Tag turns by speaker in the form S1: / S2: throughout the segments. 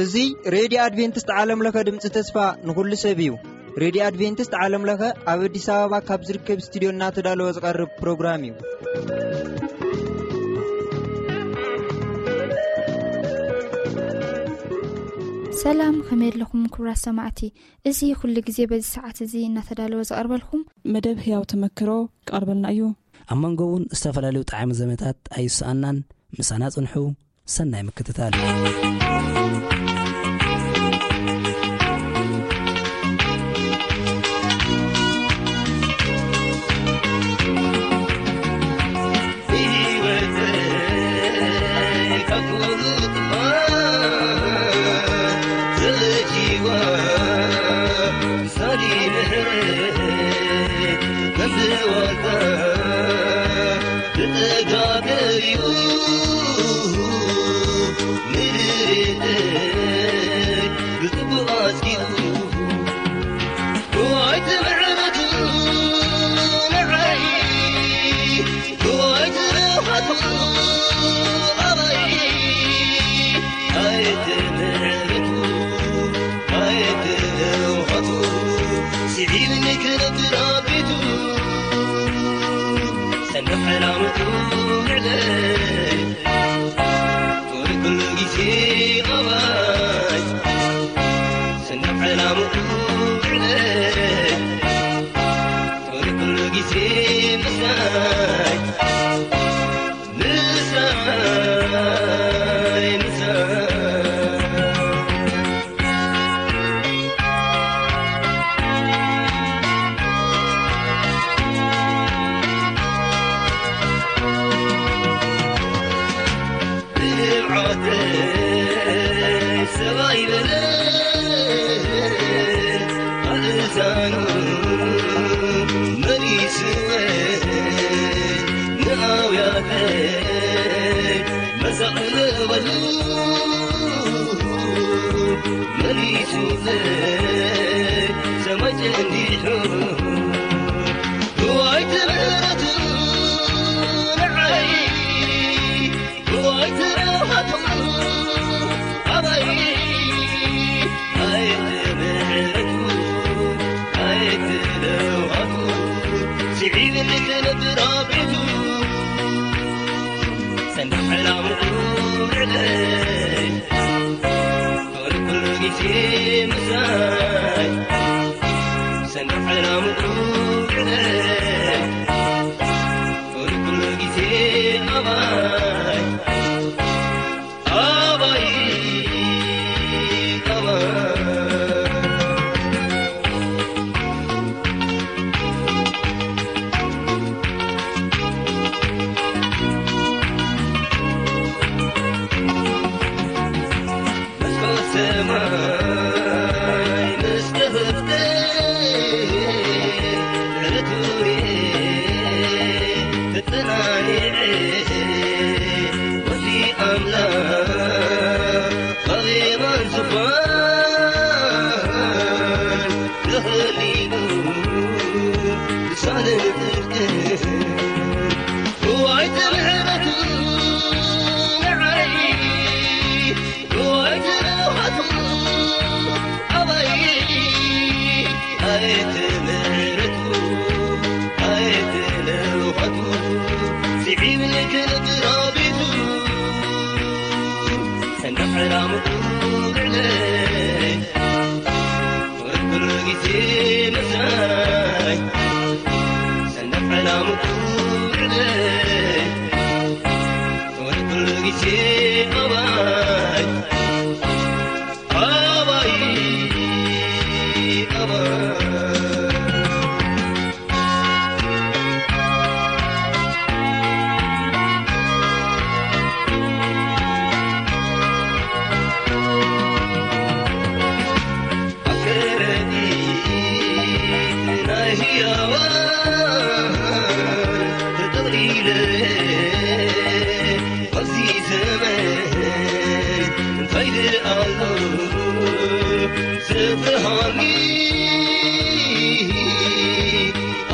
S1: እዙይ ሬድዮ ኣድቨንትስት ዓለምለኸ ድምፂ ተስፋ ንኹሉ ሰብ እዩ ሬድዮ ኣድቨንትስት ዓለምለኸ ኣብ ኣዲስ ኣበባ ካብ ዝርከብ እስትድዮ እናተዳለወ ዝቐርብ ፕሮግራም እዩ
S2: ሰላም ከመይ ኣለኹም ክብራት ሰማዕቲ እዚ ኩሉ ግዜ በዚ ሰዓት እዚ እናተዳለወ ዝቐርበልኩም
S3: መደብ ህያው ተመክሮ ክቐርበልና እዩ
S4: ኣብ መንጎ እውን ዝተፈላለዩ ጣዕሚ ዘመታት ኣይስኣናን ምሳና ጽንሑ ሰናይ ምክትታል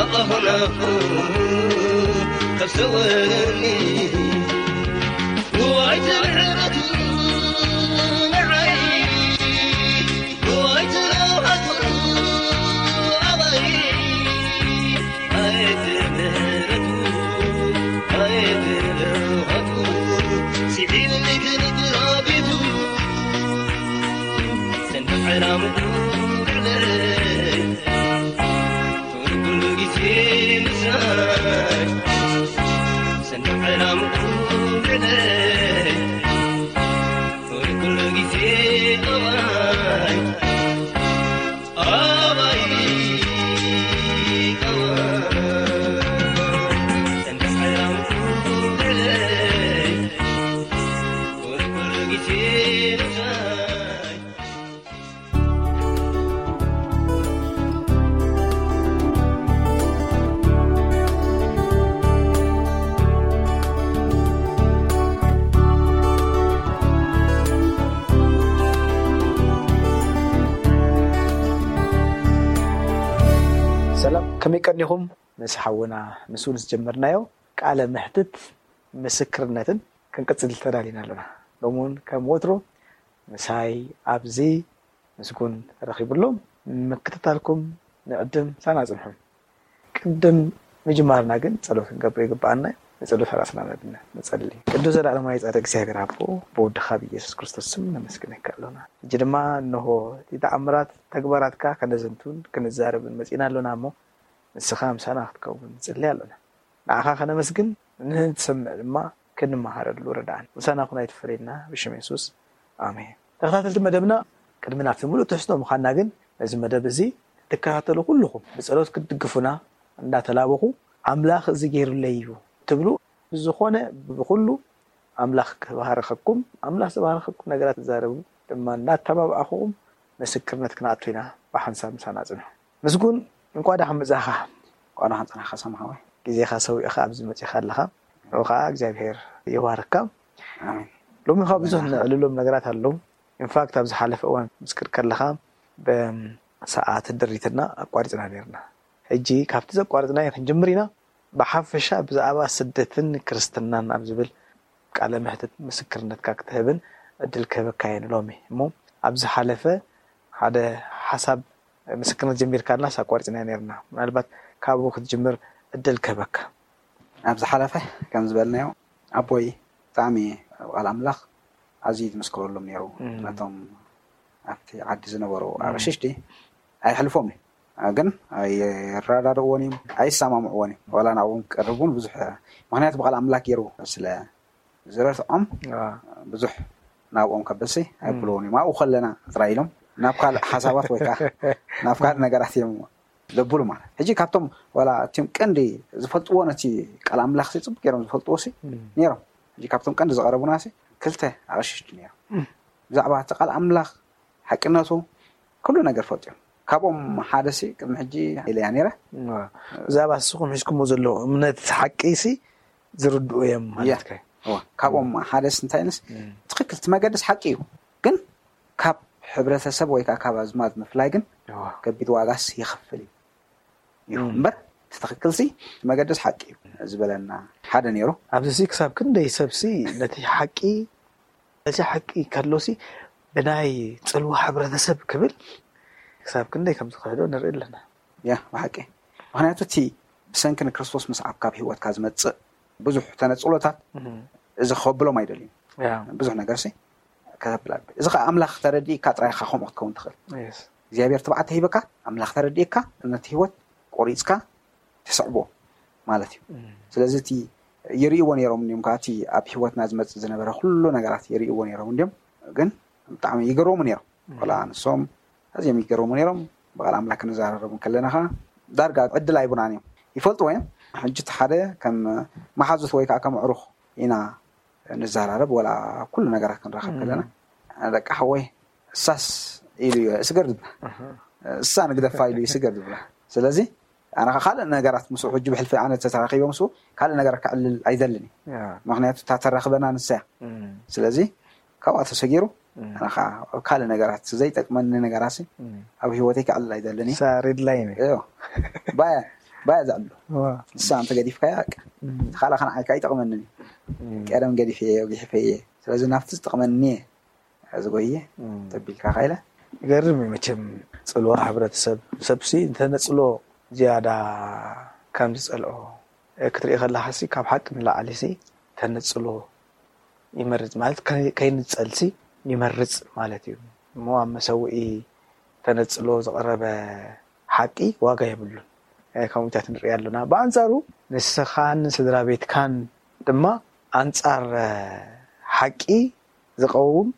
S5: الله له فسورني وأجر
S6: ሰላም ከመይ ቀኒኹም ምስ ሓውና ምስኡ ዝጀመርናዮ ቃለ ምሕትት ምስክርነትን ክንቅፅል ተዳሊና ኣለና ሎም እውን ከም ወትሮ ምሳይ ኣብዚ ምስጉን ረኪብሎም ምክትታልኩም ንቅድም ሳናፅንሑ ቅድም ምጅማርና ግን ፀሎት ክንገብር ይግበኣና እዩ ንፀሎት ራስና ነድነ ንፀሊ ቅዱስ ዘለኣለማይ ፃደ እግዚኣብሔር ኣቦ ብወድካ ብኢየሱስ ክርስቶስ ስም ነመስግነካ ኣለና እጂ ድማ እንሆ እቲ ተኣምራት ተግባራትካ ከነዘንቱን ክንዛረብን መፂና ኣለና እሞ ንስኻ ምሳና ክትከውን ንፅሊ ኣለና ንዓኻ ከነመስግን ንትሰምዕ ድማ ክንመሃረሉ ርዳእን ምሳና ኩና ይትፈለየና ብሽም የሱስ ኣሜን ተከታተልቲ መደብና ቅድሚ ናብቲ ሙሉእ ትሕዝቶ ምዃንና ግን ነዚ መደብ እዚ ትከታተሉ ኩልኹም ብፀሎት ክትድግፉና እንዳተላበኹ ኣምላኽ እዚ ገይሩለይ እዩ ትብሉ ብዝኾነ ብኩሉ ኣምላኽ ክባሃረኸኩም ኣምላኽ ዝባሃረኸኩም ነገራት ትዛረቡ ድማ እናተባብኣኹም ምስክርነት ክነኣቱ ኢና ብሓንሳብ ምሳና ፅንሑ ምስጉን እንቋዳ ከምፅእኻ እንቋዳ ከምፅናካ ሰማሓወይ ግዜካ ሰዊዕካ ኣብዚ መፅኻ ኣለካ ንኡ ከዓ እግዚኣብሔር ይባርክካ ሎሚ ካ ብዙሕ ንዕልሎም ነገራት ኣለዉ ኢንፋክት ኣብ ዝሓለፈ እዋን ምስክር ከለካ ብሰዓት ድሪትና ኣቋሪፅና ነርና ሕጂ ካብቲ ዘቋርፅናዮ ክንጅምር ኢና ብሓፈሻ ብዛዕባ ስደትን ክርስትናን ኣብ ዝብል ቃለ ምሕትት ምስክርነትካ ክትህብን እድል ክህበካ የን ሎሚ እሞ ኣብ ዝሓለፈ ሓደ ሓሳብ ምስክርነት ጀሚርካ ኣለና ሳቋሪፅና ነርና ምናልባት ካብኡ ክትጅምር እድል ክህበካ
S7: ኣብ ዝሓለፈ ከም ዝበልናዮ ኣቦይ ብጣዕሚ ቃል ኣምላኽ ኣዝዩ ዝምስክረሎም ነይሩ ነቶም ኣብቲ ዓዲ ዝነበሩ ኣበሽሽቲ ኣይሕልፎም እዩ ግን ኣይረዳድእዎን እዮም ኣይሰማምዕዎን እዮም ዋላ ናብዎም ቀርቡን ብዙሕ ምክንያቱ ብቃል ኣምላክ ገይሩ ስለ ዝረትዖም ብዙሕ ናብኦም ከበሲ ኣይብልዎን እዮም ኣብኡ ከለና ጥራይ ኢሎም ናብ ካልእ ሓሳባት ወይ ከዓ ናብ ካልእ ነገራት እዮም ዘብሉ ማለት ሕጂ ካብቶም ዋላ እትም ቀንዲ ዝፈልጥዎ ነቲ ቃል ኣምላኽ ፅቡቅ ገይሮም ዝፈልጥዎ ሲ ነይሮም ሕጂ ካብቶም ቀንዲ ዝቀረቡና ሲ ክልተ ኣቐሽሽቲ ነይሮም ብዛዕባ እቲ ቃል ኣምላኽ ሓቂነቱ ኩሉ ነገር ፈልጥ እዮም ካብኦም ሓደ ሲ ቅድሚ ሕጂ ኢለያ ነይረ
S6: ብዛዕባ ንስኹም ሒዝኩምዎ ዘለዎ እምነት ሓቂ ሲ ዝርድኡ እዮም ማለት ከ
S7: ካብኦም ሓደስ እንታይ ንስ ትክክል እቲ መገድስ ሓቂ እዩ ግን ካብ ሕብረተሰብ ወይ ከዓ ካብ ኣዝማድ ምፍላይ ግን ከቢድ ዋጋስ ይኽፍል እዩ እዩ እምበር እቲ ትክክል ሲ መገድስ ሓቂ እዩ ዝበለና ሓደ ነይሩ
S6: ኣብዚ ሲ ክሳብ ክንደይ ሰብሲ ነቲ ሓቂ ነቲ ሓቂ ከሎሲ ብናይ ፅልዋ ሕብረተሰብ ክብል ክሳብ ክንደይ ከም ዝክሕዶ ንርኢ ኣለና
S7: ያ ብሓቂ ምክንያቱ እቲ ብሰንኪ ንክርስቶስ ምስዓብ ካብ ሂወትካ ዝመፅእ ብዙሕ ተነፅሎታት እዚ ክኸብሎም ኣይደልዩ ብዙሕ ነገር ሲ ከብል ኣለ እዚ ከዓ ኣምላኽ ተረዲእካ ጥራይካ ከምኡ ክትከውን ትኽእል እግዚኣብሔር ትባዕተ ሂበካ ኣምላኽ ተረዲእካ ነቲ ሂወት ቆሪፅካ ትስዕቦ ማለት እዩ ስለዚ እቲ ይርእይዎ ነይሮም እዮም ከዓ እቲ ኣብ ሂወትና ዝመፅእ ዝነበረ ኩሉ ነገራት ይርእይዎ ነይሮም እንድዮም ግን ብጣዕሚ ይገርሙ ነይሮም ቆላ ንሶም ኣዝዮም ይገርሙ ነይሮም ብቃል ኣምላክ ክንዘራረቡ ከለና ከዓ ዳርጋ ዕድል ኣይቡናን እዮም ይፈልጥዎ እዮም ሕጂ እቲ ሓደ ከም መሓዙት ወይ ከዓ ከም ኣዕሩኽ ኢና ንዘራረብ ወላ ኩሉ ነገራት ክንረኸብ ከለና ደቂ ሓወይ እሳስ ኢሉ እዩ ስገር ዝብላ እሳ ንግደፋ ኢሉ እዩ ስገር ዝብላ ስለዚ ኣነ ካልእ ነገራት ምስ ሕጂ ብሕልፊ ኣነ ተተራኪቦ ምስ ካልእ ነገራት ክዕልል ኣይዘልን እዩ ምክንያቱ እታ ተራክበና ንሳያ ስለዚ ካብኣ ተሰጊሩ ኣነ ከዓ ካልእ ነገራት ዘይጠቅመኒ ነገራት ኣብ ሂወተይ ክዕልል ኣይዘለኒ
S6: ሬድላይን
S7: ባየ ባያዛ ኣሎ ንሳ እንተገዲፍካያ ካልእ ከን ዓይካ ይጠቕመኒ ቀደም ገዲፈ እየ ጊሕፈ እየ ስለዚ ናብቲ ዝጠቕመኒ እየ ዝጎየ ተቢልካ ካኢለ
S6: ገርም እዩ መቸም ፅልዋ ሕብረተሰብ ሰብሲ እንተነፅሎ ዝያዳ ከም ዝፀልኦ ክትሪኢ ከለካ ሲ ካብ ሓቂ ንላዓሊ ሲ ተነፅሎ ይመርፅ ማለት ከይንፀልሲ ይመርፅ ማለት እዩ እሞ ኣብ መሰውኢ ተነፅሎ ዝቐረበ ሓቂ ዋጋ የብሉን ከምኡታት ንሪኢ ኣለና ብኣንፃሩ ንስኻን ስድራ ቤትካን ድማ ኣንፃር ሓቂ ዝቐውም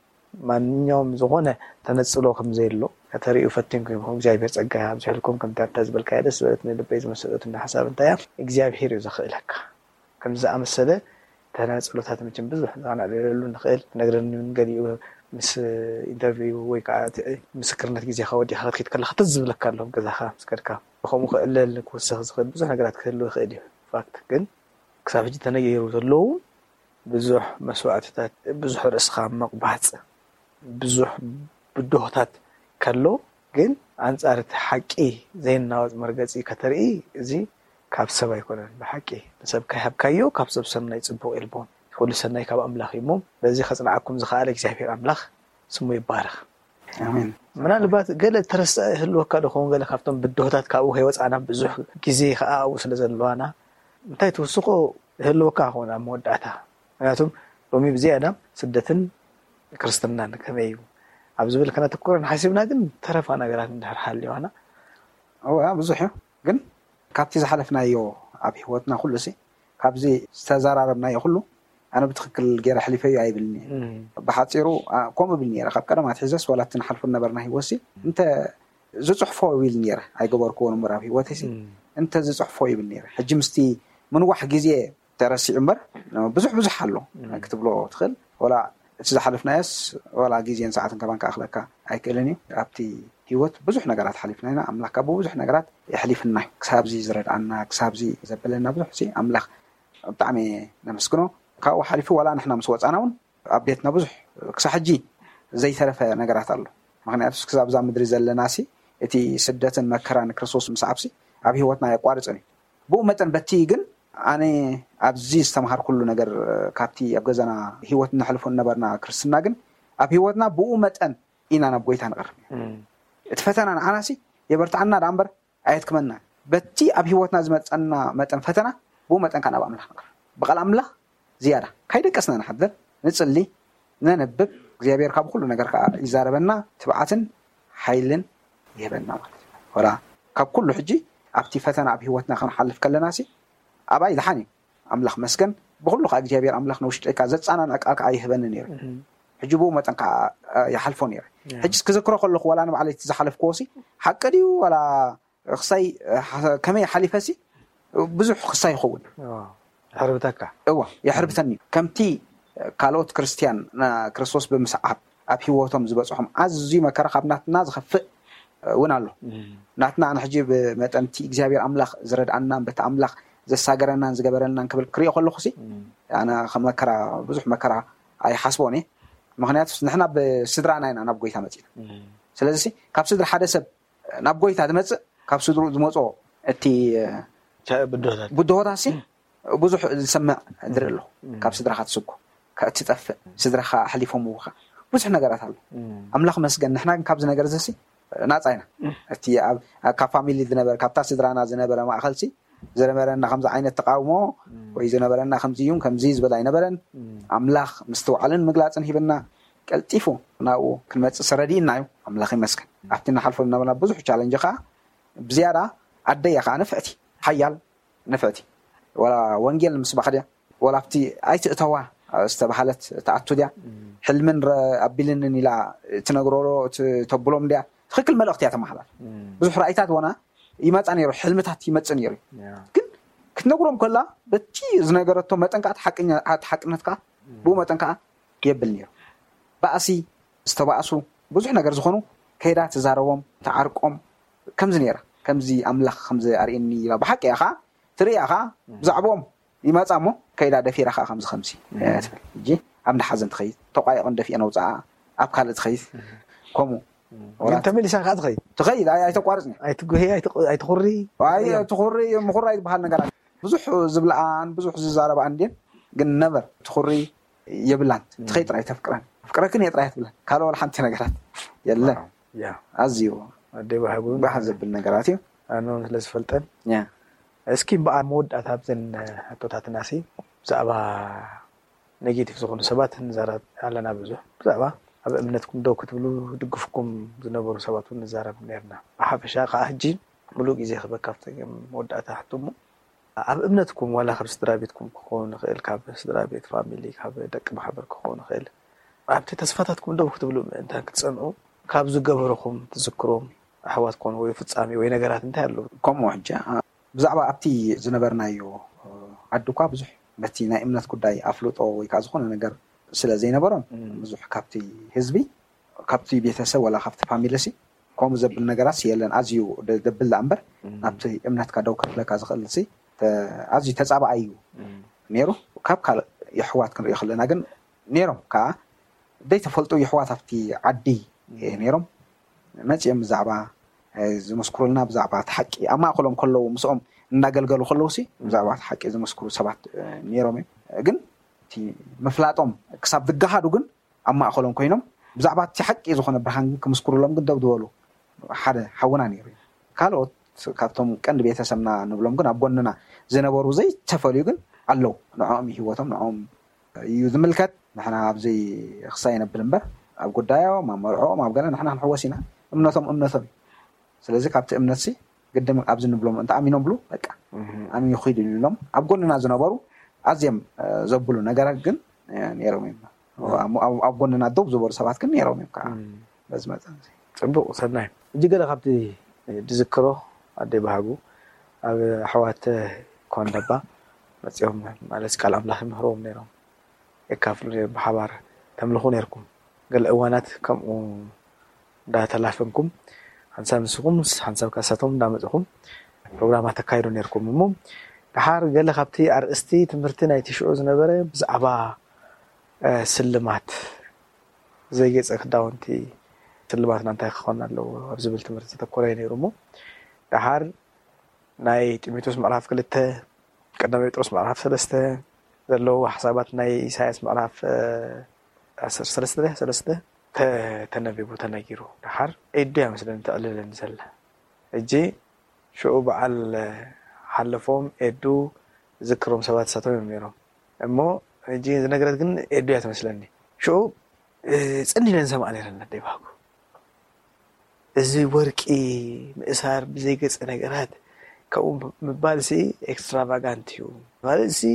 S6: ማንኛውም ዝኾነ ተነፅሎ ከምዘየሎ ከተሪኡ ፈቲንኩም ይኹም እግዚኣብሔር ፀጋ ኣብዝሕልኩም ከምቲ ኣብታ ዝበልካየ ደስ በለት ንልበይ ዝመሰጠት ሓሳብ እንታይ እያ እግዚኣብሔር እዩ ዘኽእለካ ከምዝኣመሰለ ተነፅሎታት ምችን ብዙሕ ንክናዕልለሉ ንኽእል ነግረኒ ገሊኡ ምስ ኢንተርቪው ወይ ከዓ ምስክርነት ግዜካ ወዲካ ክትከድ ከለካ ተዝ ዝብለካ ኣሎም ገዛካ ምስከድካ ከምኡ ክዕለል ክውስኽ ዝኽእል ብዙሕ ነገራት ክህሉ ይኽእል እዩ ፋክት ግን ክሳብ ሕጂ ተነገይሩ ዘለዉ ብዙሕ መስዋዕትታት ብዙሕ ርእስኻ መቕባፅ ብዙሕ ብድሆታት ከሎ ግን ኣንፃር እቲ ሓቂ ዘይናወፅ መርገፂ ከተርኢ እዚ ካብ ሰብ ኣይኮነን ብሓቂ ንሰብ ካይሃብካዮ ካብ ሰብ ሰናይ ፅቡቅ ኢልቦን ኩሉ ሰናይ ካብ ኣምላኽ እዩ እሞ በዚ ከፅናዓኩም ዝኽኣለ እግዚኣብሔር ኣምላኽ ስሙ ይባርኽ
S7: ኣሜን
S6: ምናልባት ገለ ተረስአ ህልወካ ድኸውን ገለ ካብቶም ብድሆታት ካብኡ ከይወፃና ብዙሕ ግዜ ከዓ ኣብኡ ስለ ዘለዋና እንታይ ትውስኮ ህልወካ ክኾን ኣብ መወዳእታ ምክንያቱም ሎሚ ብዝያዳ ስደትን ክርስትናን ከመይ እዩ ኣብ ዝብል ከነተኩረን ሓሲብና ግን ተረፋ ነገራት እንድሕር ሃልዋና
S7: ዋ ብዙሕ እዩ ግን ካብቲ ዝሓለፍናዮ ኣብ ሂወትና ኩሉ ሲ ካብዚ ዝተዘራረብናዮ ኩሉ ኣነ ብትክክል ገይረ ሕሊፈ እዩ ኣይብልኒ ብሓፂሩ ከምኡ ብል ነረ ካብ ቀደም ኣትሒዘስ ዋላቲ ንሓልፎ ነበርና ሂወሲ እንተ ዝፅሕፎ ይብል ነረ ኣይገበርክዎ ንበር ኣብ ሂወተሲ እንተ ዝፅሕፎ ይብል ነረ ሕጂ ምስቲ ምንዋሕ ግዜ ተረሲዑ እምበር ብዙሕ ብዙሕ ኣሎ ክትብሎ ትኽእል ወላ እቲ ዝሓልፍናየስ ወላ ግዜን ሰዓትን ከባን ክኣክለካ ኣይክእልን እዩ ኣብቲ ሂወት ብዙሕ ነገራት ሓሊፍና ኢና ኣምላኽካ ብብዙሕ ነገራት የሕሊፍና እዩ ክሳብዚ ዝረድኣና ክሳብዚ ዘበለና ብዙሕ ሲ ኣምላኽ ብጣዕሚ ነመስግኖ ካብኡ ሓሊፉ ዋላ ንሕና ምስ ወፃና እውን ኣብ ቤትና ብዙሕ ክሳብ ሕጂ ዘይተረፈ ነገራት ኣሎ ምክንያቱስ ክሳብ ዛ ምድሪ ዘለና ሲ እቲ ስደትን መከራን ክርስቶስ ምስዓብሲ ኣብ ሂወትና የቋርፅን እዩ ብኡ መጠን በቲ ግን ኣነ ኣብዚ ዝተምሃር ኩሉ ነገር ካብቲ ኣብ ገዛና ሂወት እናሕልፎ ነበርና ክርስትና ግን ኣብ ሂወትና ብኡ መጠን ኢና ናብ ጎይታ ንቐርብ እቲ ፈተና ንዓናሲ የበርትዓና ዳ እምበር ኣየትክመና በቲ ኣብ ሂወትና ዝመፀና መጠን ፈተና ብኡ መጠን ካ ናብ ኣምላኽ ንቕርብ ብቓል ኣምላኽ ዝያዳ ካይደቀስና ንሓድር ንፅሊ ነነብብ እግዚኣብሔር ካብ ኩሉ ነገር ከዓ ይዛረበና ትብዓትን ሓይልን ይህበና ማለት እዩ ወላ ካብ ኩሉ ሕጂ ኣብቲ ፈተና ኣብ ሂወትና ክንሓልፍ ከለና ሲ ኣባይ ዝሓን እዩ ኣምላኽ መስገን ብኩሉ ከዓ እግዚኣብሔር ኣምላኽ ንውሽጢካ ዘፃናንዕቃ ከዓ ይህበኒ ነይሩ ሕጂ ብኡ መጠን ከዓ ይሓልፎ ነይረ ሕጂ ክዝክሮ ከለኹ ዋላ ንባዕለይ ዝሓለፍክዎ ሲ ሓቂ ድዩ ዋላ ክሳይ ከመይ ሓሊፈሲ ብዙሕ ክሳይ ይኸውን
S6: ሕርብተካ
S7: እዋ የሕርብተኒ እዩ ከምቲ ካልኦት ክርስትያን ክርስቶስ ብምስዓብ ኣብ ሂወቶም ዝበፅሖም ኣዝዩ መከራ ካብ ናትና ዝኸፍእ እውን ኣሎ ናትና ንሕጂ ብመጠንቲ እግዚኣብሔር ኣምላኽ ዝረድኣናን በቲ ኣምላኽ ዘሳገረናን ዝገበረልናን ክብል ክሪኦ ከለኩ ሲ ኣነ መከራ ብዙሕ መከራ ኣይሓስቦን እየ ምክንያቱ ንሕና ብስድራና ኢና ናብ ጎይታ መፂና ስለዚ ሲ ካብ ስድሪ ሓደ ሰብ ናብ ጎይታ ዝመፅእ ካብ ስድሩኡ ዝመፆ እቲ
S6: ብድሆታት
S7: ብድሆታት ሲ ብዙሕ ዝሰምዕ ንርኢ ኣለኹ ካብ ስድራካ ትስጉ እትጠፍእ ስድራካ ኣሕሊፎም ውካ ብዙሕ ነገራት ኣሎ ኣምላኽ መስገን ንሕና ግን ካብዚ ነገር ዘሲ ናፃ ኢና እቲ ካብ ፋሚሊ ዝነበረ ካብታ ስድራና ዝነበረ ማእኸልሲ ዝነበረና ከምዚ ዓይነት ተቃውሞ ወይ ዝነበረና ከምዚ እዩን ከምዚ ዝበል ኣይነበረን ኣምላኽ ምስትውዓልን ምግላፅን ሂበና ቀልጢፉ ናብኡ ክንመፅእ ስረዲእና እዩ ኣምላኽ ይመስገን ኣብቲ እናሓልፎ ዝነበርና ብዙሕ ቻለንጂ ከዓ ብዝያዳ ኣደያ ከዓ ንፍዕቲ ሓያል ንፍዕቲ ወላ ወንጌል ንምስባክ ድያ ወላ ኣብቲ ኣይትእተዋ ዝተባሃለት ተኣቱ ድያ ሕልምን ኣቢልንን ኢላ እትነግረሮ እተብሎም ድያ ትክክል መልእክቲ እያ ተመሓላል ብዙሕ ራእይታት ወና ይመፃ ነይሩ ሕልምታት ይመፅእ ነይሩ እዩ ግን ክትነግሮም ከላ በቲ ዝነገረቶ መጠን ከዓ ሓቅነት ከዓ ብኡ መጠን ከዓ የብል ነይሩ ባእሲ ዝተባእሱ ብዙሕ ነገር ዝኾኑ ከይዳ ትዛረቦም ተዓርቆም ከምዚ ነራ ከምዚ ኣምላኽ ከምዚ ኣርእየኒ ኢላ ብሓቂ እያ ከዓ ትርኢያ ከዓ ብዛዕቦም ይመፃ እሞ ከይዳ ደፊራ ከዓ ከምዚ ከምዚ ትብል እጂ ኣብ እንዳሓዘን ትኸይድ ተቋይቆን ደፊአ ነውፃኣ ኣብ ካልእ ትኸይድ ከምኡ
S6: ግን ተመሊሳ ከዓ ትኸይድ
S7: ትኸይድ ኣይ- ኣይተቋርፅኒ
S6: ኣይትጉሄ ኣይተ- ኣይትኹሪ
S7: ኣይ ትኹሪ ምኹራ ይበሃል ነገራት ብዙሕ ዝብልኣን ብዙሕ ዝዛረባኣን ድን ግን ነበር ትኹሪ የብላን ትኸይ ጥራይ ተፍቅረን ፍቅረክን እየ ጥራይ ትብለን ካልኦ ወላ ሓንቲ ነገራት የለን
S6: ያ
S7: ኣዝዩ
S6: ኣደይ ባሃጉን
S7: ባሕ ዘብል ነገራት እዩ
S6: ኣኖን ስለ ዝፈልጠን እስኪ እምበኣር መወዳእታ ኣብዘን ኣቶታትና ሲ ብዛዕባ ኔጌቲቭ ዝኾኑ ሰባት ንዛረብ ኣለና ብዙሕ ብዛዕባ ኣብ እምነትኩም ደው ክትብሉ ድግፍኩም ዝነበሩ ሰባት እውን ንዛረብ ነርና ብሓፈሻ ከዓ ሕጂ ሙሉእ ግዜ ክበካ ኣብቲ መወዳእታ ሕቶ እሞ ኣብ እምነትኩም ዋላ ካብ ስድራ ቤትኩም ክኸውን ንኽእል ካብ ስድራ ቤት ፋሚሊ ካብ ደቂ ማሕበር ክኸውን ንኽእል ኣብቲ ተስፋታትኩም ደው ክትብሉ ምእንታን ክትፀንዑ ካብ ዝገበረኹም ትዝክሮም ኣሕዋት ኮኑ ወይ ፍፃሚ ወይ ነገራት እንታይ ኣለዉ
S7: ከምኡ ሕጂ ኣ- ብዛዕባ ኣብቲ ዝነበርናዮ እ፣ ዓዲ እኳ ብዙሕ በቲ ናይ እምነት ጉዳይ ኣፍልጦ ወይ ከዓ ዝኾነ ነገር ስለ ዘይነበሮም ብዙሕ ካብቲ ህዝቢ ካብቲ ቤተሰብ ወላ ካብቲ ፋሚሊሲ ከምኡ ዘብል ነገራት የለን ኣዝዩ ደ- ደብል ዳ እምበር ናብቲ እምነትካ ደው ክፍለካ ዝኽእል ሲ ተ- ኣዝዩ ተፃባኣይ እዩ ነይሩ ካብ ካልእ የሕዋት ክንሪኦ ከለና ግን ነይሮም ከዓ ደይተፈልጡ የሕዋት ኣብቲ ዓዲ እ ነይሮም መፅኦም ብዛዕባ እ ዝመስክሩልና ብዛዕባ እቲ ሓቂ ኣብ ማእከሎም ከለዉ ምስኦም እንዳገልገሉ ከለዉ ሲ ብዛዕባ እቲ ሓቂ ዝመስክሩ ሰባት እ ነይሮም እዮም ግን እቲ ምፍላጦም ክሳብ ዝገሃዱ ግን ኣብ ማእከሎም ኮይኖም ብዛዕባ እቲ ሓቂ ዝኾነ ብርሃን ግን ክምስክሩሎም ግን ደው ዝበሉ ሓደ ሓውና ነይሩ እዩ ካልኦት ካብቶም ቀንዲ ቤተሰብና ንብሎም ግን ኣብ ጎንና ዝነበሩ ዘይተፈልዩ ግን ኣለው ንዕኦም እዩ ሂወቶም ንዕኦም እዩ ዝምልከት ንሕና ኣብዚ ክሳይ የነብል እምበር ኣብ ጉዳዮም ኣብ መርዕኦም ኣብ ገለ ንሕና ክንሕወስ ኢና እምነቶም እምነቶም እዩ ስለዚ ካብቲ እምነት ሲ ግድም ኣብዚ ንብሎም እንተ ኣሚኖም ብሉ በቃ ኣሚኑ ይኹይድ ኢሎም ኣብ ጎንና ዝነበሩ ኣዝዮም እ፣ ዘብሉ ነገራት ግን እ፣ ነይሮም እዮም ኣብ- ኣብ- ኣብ ጎንና ደው ዝበሉ ሰባት ግን ነይሮም እዮም ከዓ በዚ መጠን እዚ
S6: ፅቡቅ ሰናይ እጂ ገለ ካብቲ ዝዝክሮ ኣደይ ባሃጉ ኣብ ኣሕዋት ኮን ደባ መፅኦም ማለት ቃል ኣምላኽ ይምህርዎም ነይሮም የካፍሉ ነይሮም ብሓባር ተምልኹ ነይርኩም ገለ እዋናት ከምኡ እንዳተላፈንኩም ሓንሳብ ንስኹም ሓንሳብ ካሳቶም እንዳመፅኹም ፕሮግራማት ተካይዱ ነይርኩም እሞ ድሓር ገለ ካብቲ ኣርእስቲ ትምህርቲ ናይቲ ሽዑ ዝነበረ ብዛዕባ እ፣ ስልማት ዘይገፀ ክዳውንቲ ስልማትና እንታይ ክኾን ኣለዎ ኣብ ዝብል ትምህርቲ ዘተኮረ እዩ ነይሩ እሞ ድሓር ናይ ጢሞቴዎስ ምዕራፍ ክልተ ቀዳማይ ጴጥሮስ ምዕራፍ ሰለስተ ዘለዎ ሓሳባት ናይ ኢሳያስ ምዕራፍ እ፣ 13 ሰለስተ ተ- ተነቢቡ ተነጊሩ ድሓር ኤዱ እያ መስለኒ ተቕልለኒ ዘላ እጂ ሽዑ በዓል እ፣ ሓለፎም ኤዱ ዝክሮም ሰባት ሳቶም እዮም ነይሮም እሞ እጂ ዝነገረት ግን ኤዱ እያ ትመስለኒ ሽዑ እ፣ ፀኒለን ሰማዕ ነረና ደባኩ እዚ ወርቂ ምእሳር ብዘይገፀ ነገራት ካብኡ ምባል ሲ ኤክስትራቫጋንት እዩ ማለት ሲ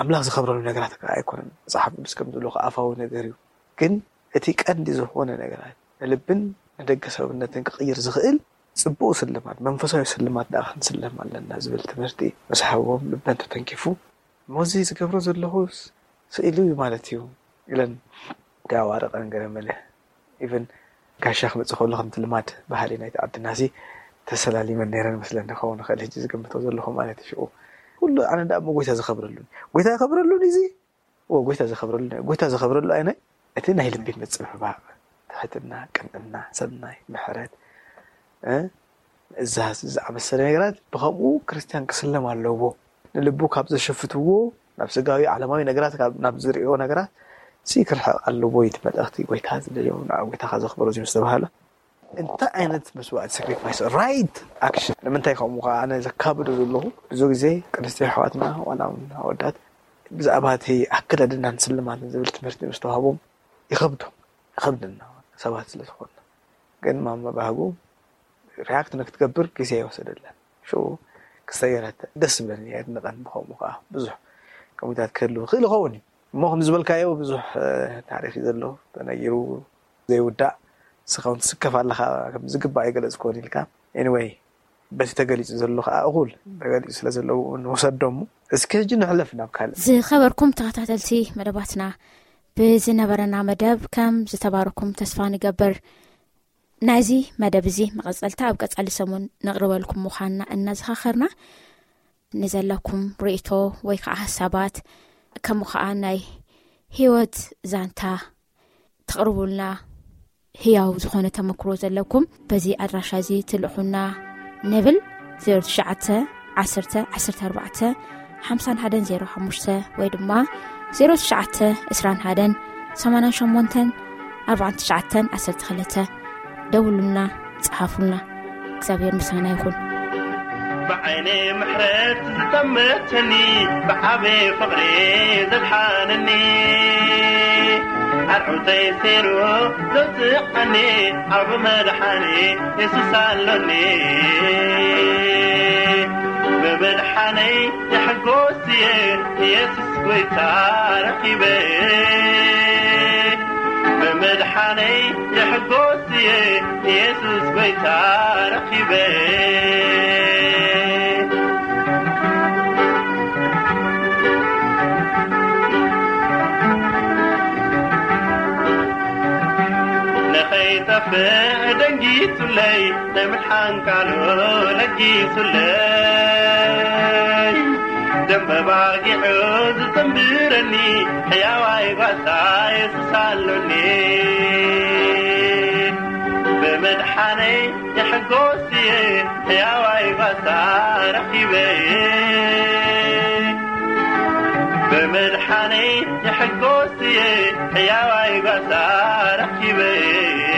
S6: ኣምላኽ ዝኸብረሉ ነገራት ከዓ ኣይኮነን መፅሓፍ ቅዱስ ከም ዝብሎ ኣፋዊ ነገር እዩ ግን እቲ ቀንዲ ዝኾነ ነገራት ንልብን ንደገ ሰብነትን ክቕይር ዝኽእል ፅቡቅ ስልማት መንፈሳዊ ስልማት ዳ ክንስልም ኣለና ዝብል ትምህርቲ መስሓቦም ልበን ተተንኪፉ ሞዚ ዝገብሮ ዘለኹ ስእሉ እዩ ማለት እዩ ኢለን ተዋረቐን ገለመለ ኢቨን ጋሻ ክመፅእ ከሎ ከምቲ ልማድ ባህሊ ናይቲ ዓድና ሲ ተሰላሊመን ነይረን መስለኒ ክኸውን ይኽእል ሕጂ ዝግምቶ ዘለኹ ማለት እዩ ሽዑ ኩሉ ኣነ ዳ እሞ ጎይታ ዘኸብረሉን ጎይታ የኸብረሉን እዚ ወ ጎይታ ዘኸብረሉ ጎይታ ዘኸብረሉ ኣይነ እቲ ናይ ልቢ ምፅብባቕ ትሕትና ቅንዕና ሰናይ ምሕረት እ፣ ምእዛዝ ዝኣመሰለ ነገራት ብከምኡ ክርስትያን ክስለም ኣለዎ ንልቡ ካብ ዘሸፍትዎ ናብ ስጋዊ ዓለማዊ ነገራት ካብ- ናብ ዝሪኦ ነገራት ሲ ክርሕቕ ኣለዎ እቲ መልእኽቲ ጎይታ ዝደልዮ ናብ ጎይታኻ ዘኽብሮ እዩ ዝተባሃለ እንታይ ዓይነት መስዋዕት ሳክሪፋይስ ራይት ኣክሽን ንምንታይ ከምኡ ከዓ ኣነ ዘካብዶ ዘለኹ ብዙ ግዜ ቅንስቲ ኣሕዋትና ዋላ እውን ኣወዳት ብዛዕባ እቲ ኣከዳድናን ስልማትን ዝብል ትምህርቲ ምስ ተዋሃቦም ይኸብዶም ይኸብድና ሰባት ስለ ዝኾኑ ግን ማማ ባህጉ ሪያክት ንክትገብር ግዜ ይወሰደለን ሽዑ ክሰየረተ ደስ ዝብለኒ እየ ድነቐን ብከምኡ ከዓ ብዙሕ ከምኡታት ክህሉ ክእል ይኸውን እዩ እሞ ከም ዝበልካዮ ብዙሕ እ፣ ታሪክ እዩ ዘሎ ተነጊሩ ዘይውዳእ ንስኻውን ትስከፍ ኣለካ ከም ዝግባእ ይገለፅ ኮን ኢልካ ኤኒወይ በቲ ተገሊፁ ዘሎ ከዓ እኹል ተገሊፁ ስለ ዘለዎ ንውሰዶ እሞ እስኪ ሕጂ ንሕለፍ ናብ ካልእ
S5: ዝኸበርኩም ተኸታተልቲ መደባትና ብዝነበረና መደብ ከም ዝተባረኩም ተስፋ ንገብር ናይዚ መደብ እዚ መቐፀልታ ኣብ ቀፃሊ ሰሙን ነቕርበልኩም ምዃንና እናዘኻኽርና ንዘለኩም ርእቶ ወይ ከዓ ሃሳባት ከምኡ ከዓ ናይ ሂወት ዛንታ ተቕርቡልና ህያው ዝኾነ ተመክሮ ዘለኩም በዚ ኣድራሻ እዚ ትልእኹና ንብል 0911145105 ወይ ድማ 0921884912 ደውሉና ፀሓፉልና እግዚኣብሔር ምስና ይኹን
S4: ብዓይነ ምሕረት ዝጠመተኒ ብዓበ ፍቕሪ ዘድሓነኒ ኣርዑተይ ሰይሩ ዘውፅዓኒ ዓብ መድሓኒ የሱስ ኣሎኒ ብመድሓነይ የሕጎስ እየ ኢየሱስ ጐይታ ረኺበ ብመድሓነይ የሕጎስ እየ ኢየሱስ ጐይታ ረኺበ نخيتفق دنجيتلي نمحن كالو لجيتلي دم باقي عوز تنبيرني حياواي غصاي سسالوني بمدحني يحقوسي حياواي غصاي رقيبي بمدحني يحقوسي حياواي غصاي رقيبي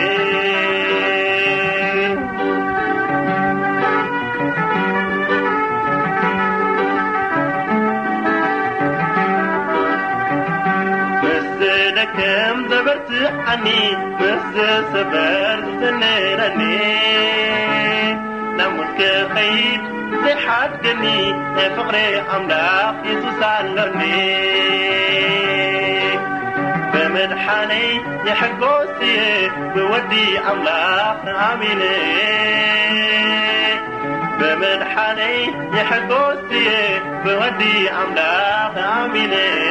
S4: كم دبرت عني مس سبرت تنيرني نموت كخيد زي حدقني يا فقري أملاك يسوس علرني بمدحني يا حقوسي بودي أملاك آميني بمدحني يا حقوسي بودي أملاك آميني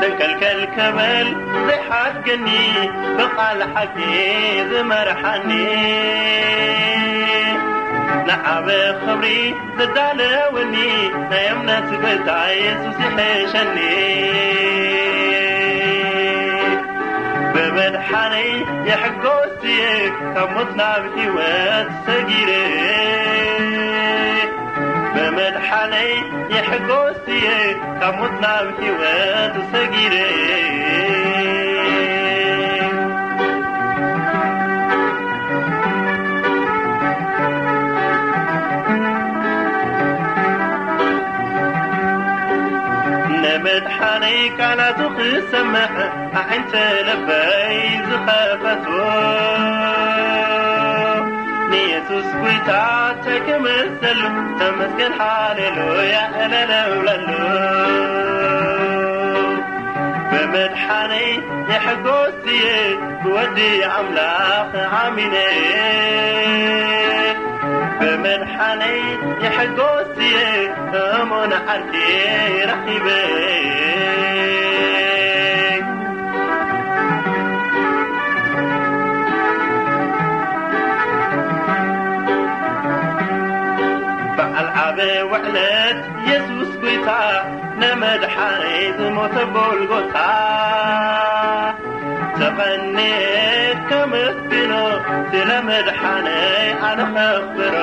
S4: سنكلكل كمل زي حقني بقال حقي زمرحني نعب خبري زدالوني نايمنا تقطع يسوس يحشني بمدحني يحقوسيك كمتنا بحيوات سجيري بمدحني يحقوسي كمتنا بحيوات سجيري نمدحني كانت خسمع أعنت لبي زخافته ንየሱስ ጐይታ ተክመሰሉ ተመስገን ሃሌሉያ እለለውለሉ ብመድሓነይ የሕጐስየ ብወዲ ኣምላኽ ዓሚነ ብመድሓነይ የሕጐስየ እሞን ዓርኪ ረኺበ በዓልዓበ ውዕለት ኢየሱስ ጐይታ ነመድሓይ ዝሞተ ጎልጎታ ተቐኒት ከመስግኖ ስለ መድሓነይ ኣነ ኸኽብሮ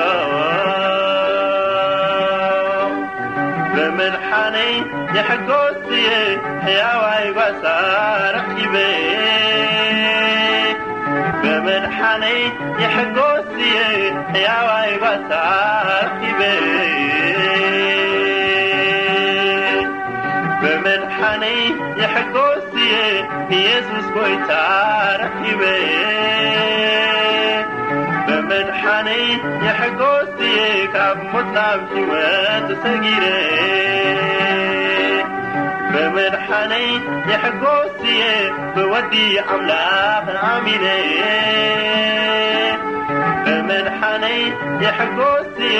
S4: በመድሓነይ የሕጐስየ ሕያዋይ ጓሳ ረኺበ بمدحني يحقوسي يا واي بساكبي بمدحني يحقوسي يسوس بويتا ركبي بمدحني يحقوسي كاب مطلب حيوات سجيري بمدحني يحقوسي بودي أملاك عاملي بمدحني يحقوسي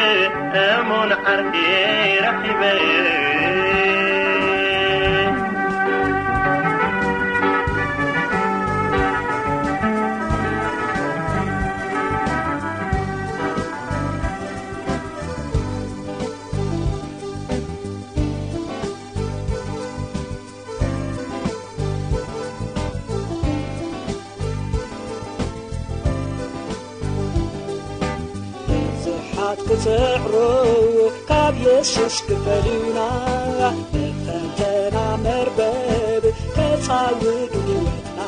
S4: أمون عرقي رحبي
S8: ብፍቅሩ ካብ የሱስ ክፈሊዩና ብፈተና መርበብ ከፃውዱ ድወትና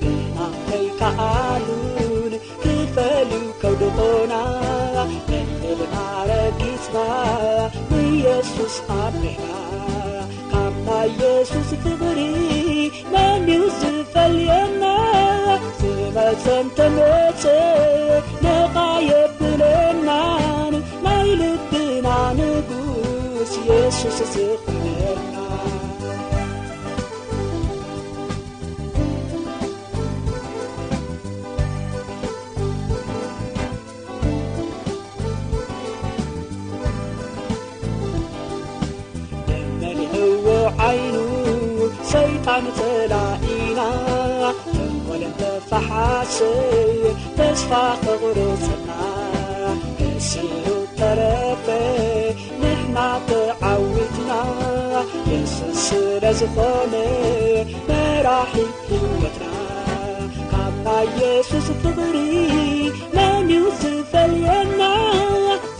S8: ግና ከይከኣሉን ክፈልዩ ከውድኾና ንልና ረጊፅና ብኢየሱስ ኣሜና ካብ ናይ የሱስ ክብሪ መንዩ ዝፈልየና ዝመፀን ተመፅእ ነቓ የብለናን ናይ ልብና ንጉስ ኢየሱስ ዝኽበልና ንመሊእዎ ዓይኑ ሰይጣን ተላኢና ተወለን ተፋሓሰይ ተስፋ ክቑርፅና እሲሉ ተረፈ ንሕና ተዓዊትና የሱስ ስለ ዝኾነ መራሒ ህወትና ካብ ናይ የሱስ ፍቕሪ መንዩ ዝፈልየና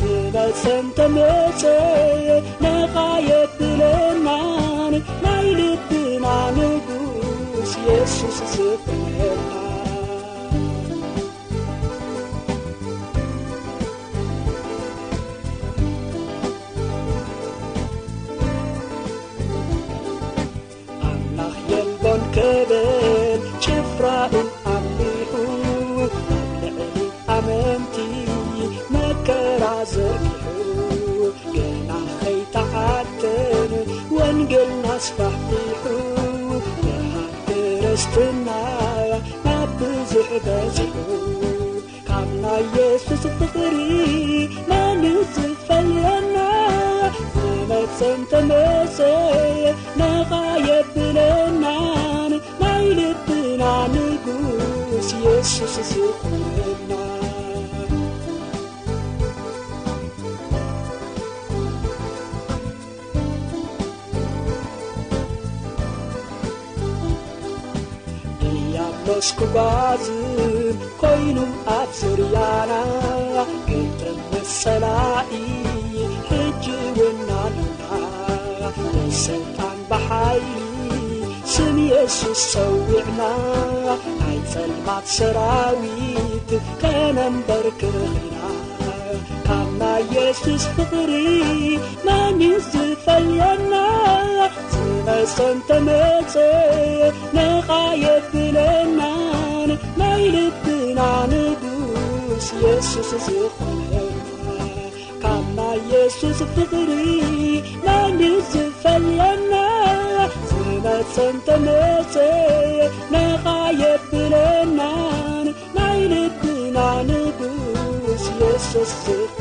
S8: ዝበፅን ተመፀ ነቓ የብለናን ናይ ልብና ንጉስ የሱስ ዝፍለና ኣምላኽ የልቦን ከበል ጭፍራኡ ኣምሊሑ ኣብ ልዕሊ ኣመንቲ መከራ ዘርጊሑ ገና ከይተዓተን ወንጌልና ስፋሕፊሑ ንሃገረስትና ናብ ብዙሕ በፂሑ ካብ ናይ የሱስ ፍቕሪ መንዩ ዝፈልየና ዝመፅን ተመፀ ነቓ የብለናን ናይ ልብና ንጉስ ኢየሱስ ዝኽብና ዲያብሎስ ክጓዝም ኮይኑ ኣብ ዙርያና ግጥምስ ሰላኢ ሕጂ እውን ኣሉና ብሰልጣን ብሓይሊ ስም የሱስ ሰዊዕና ናይ ጸልማት ሰራዊት ከነንበር ክኽና ካብ ናይ የሱስ ፍቕሪ መንዩ ዝፈልየና ዝመፀን ተመፀ ነቓ የብለናን ናይ ልብና ንጉስ የሱስ ዝኾነ ካብ ናይ የሱስ ፍቕሪ መንዩ ዝፈልየና ዝመፀን ተመፀ ነቓ የብለናን ናይ ልብና ንጉስ የሱስ ዝኾነ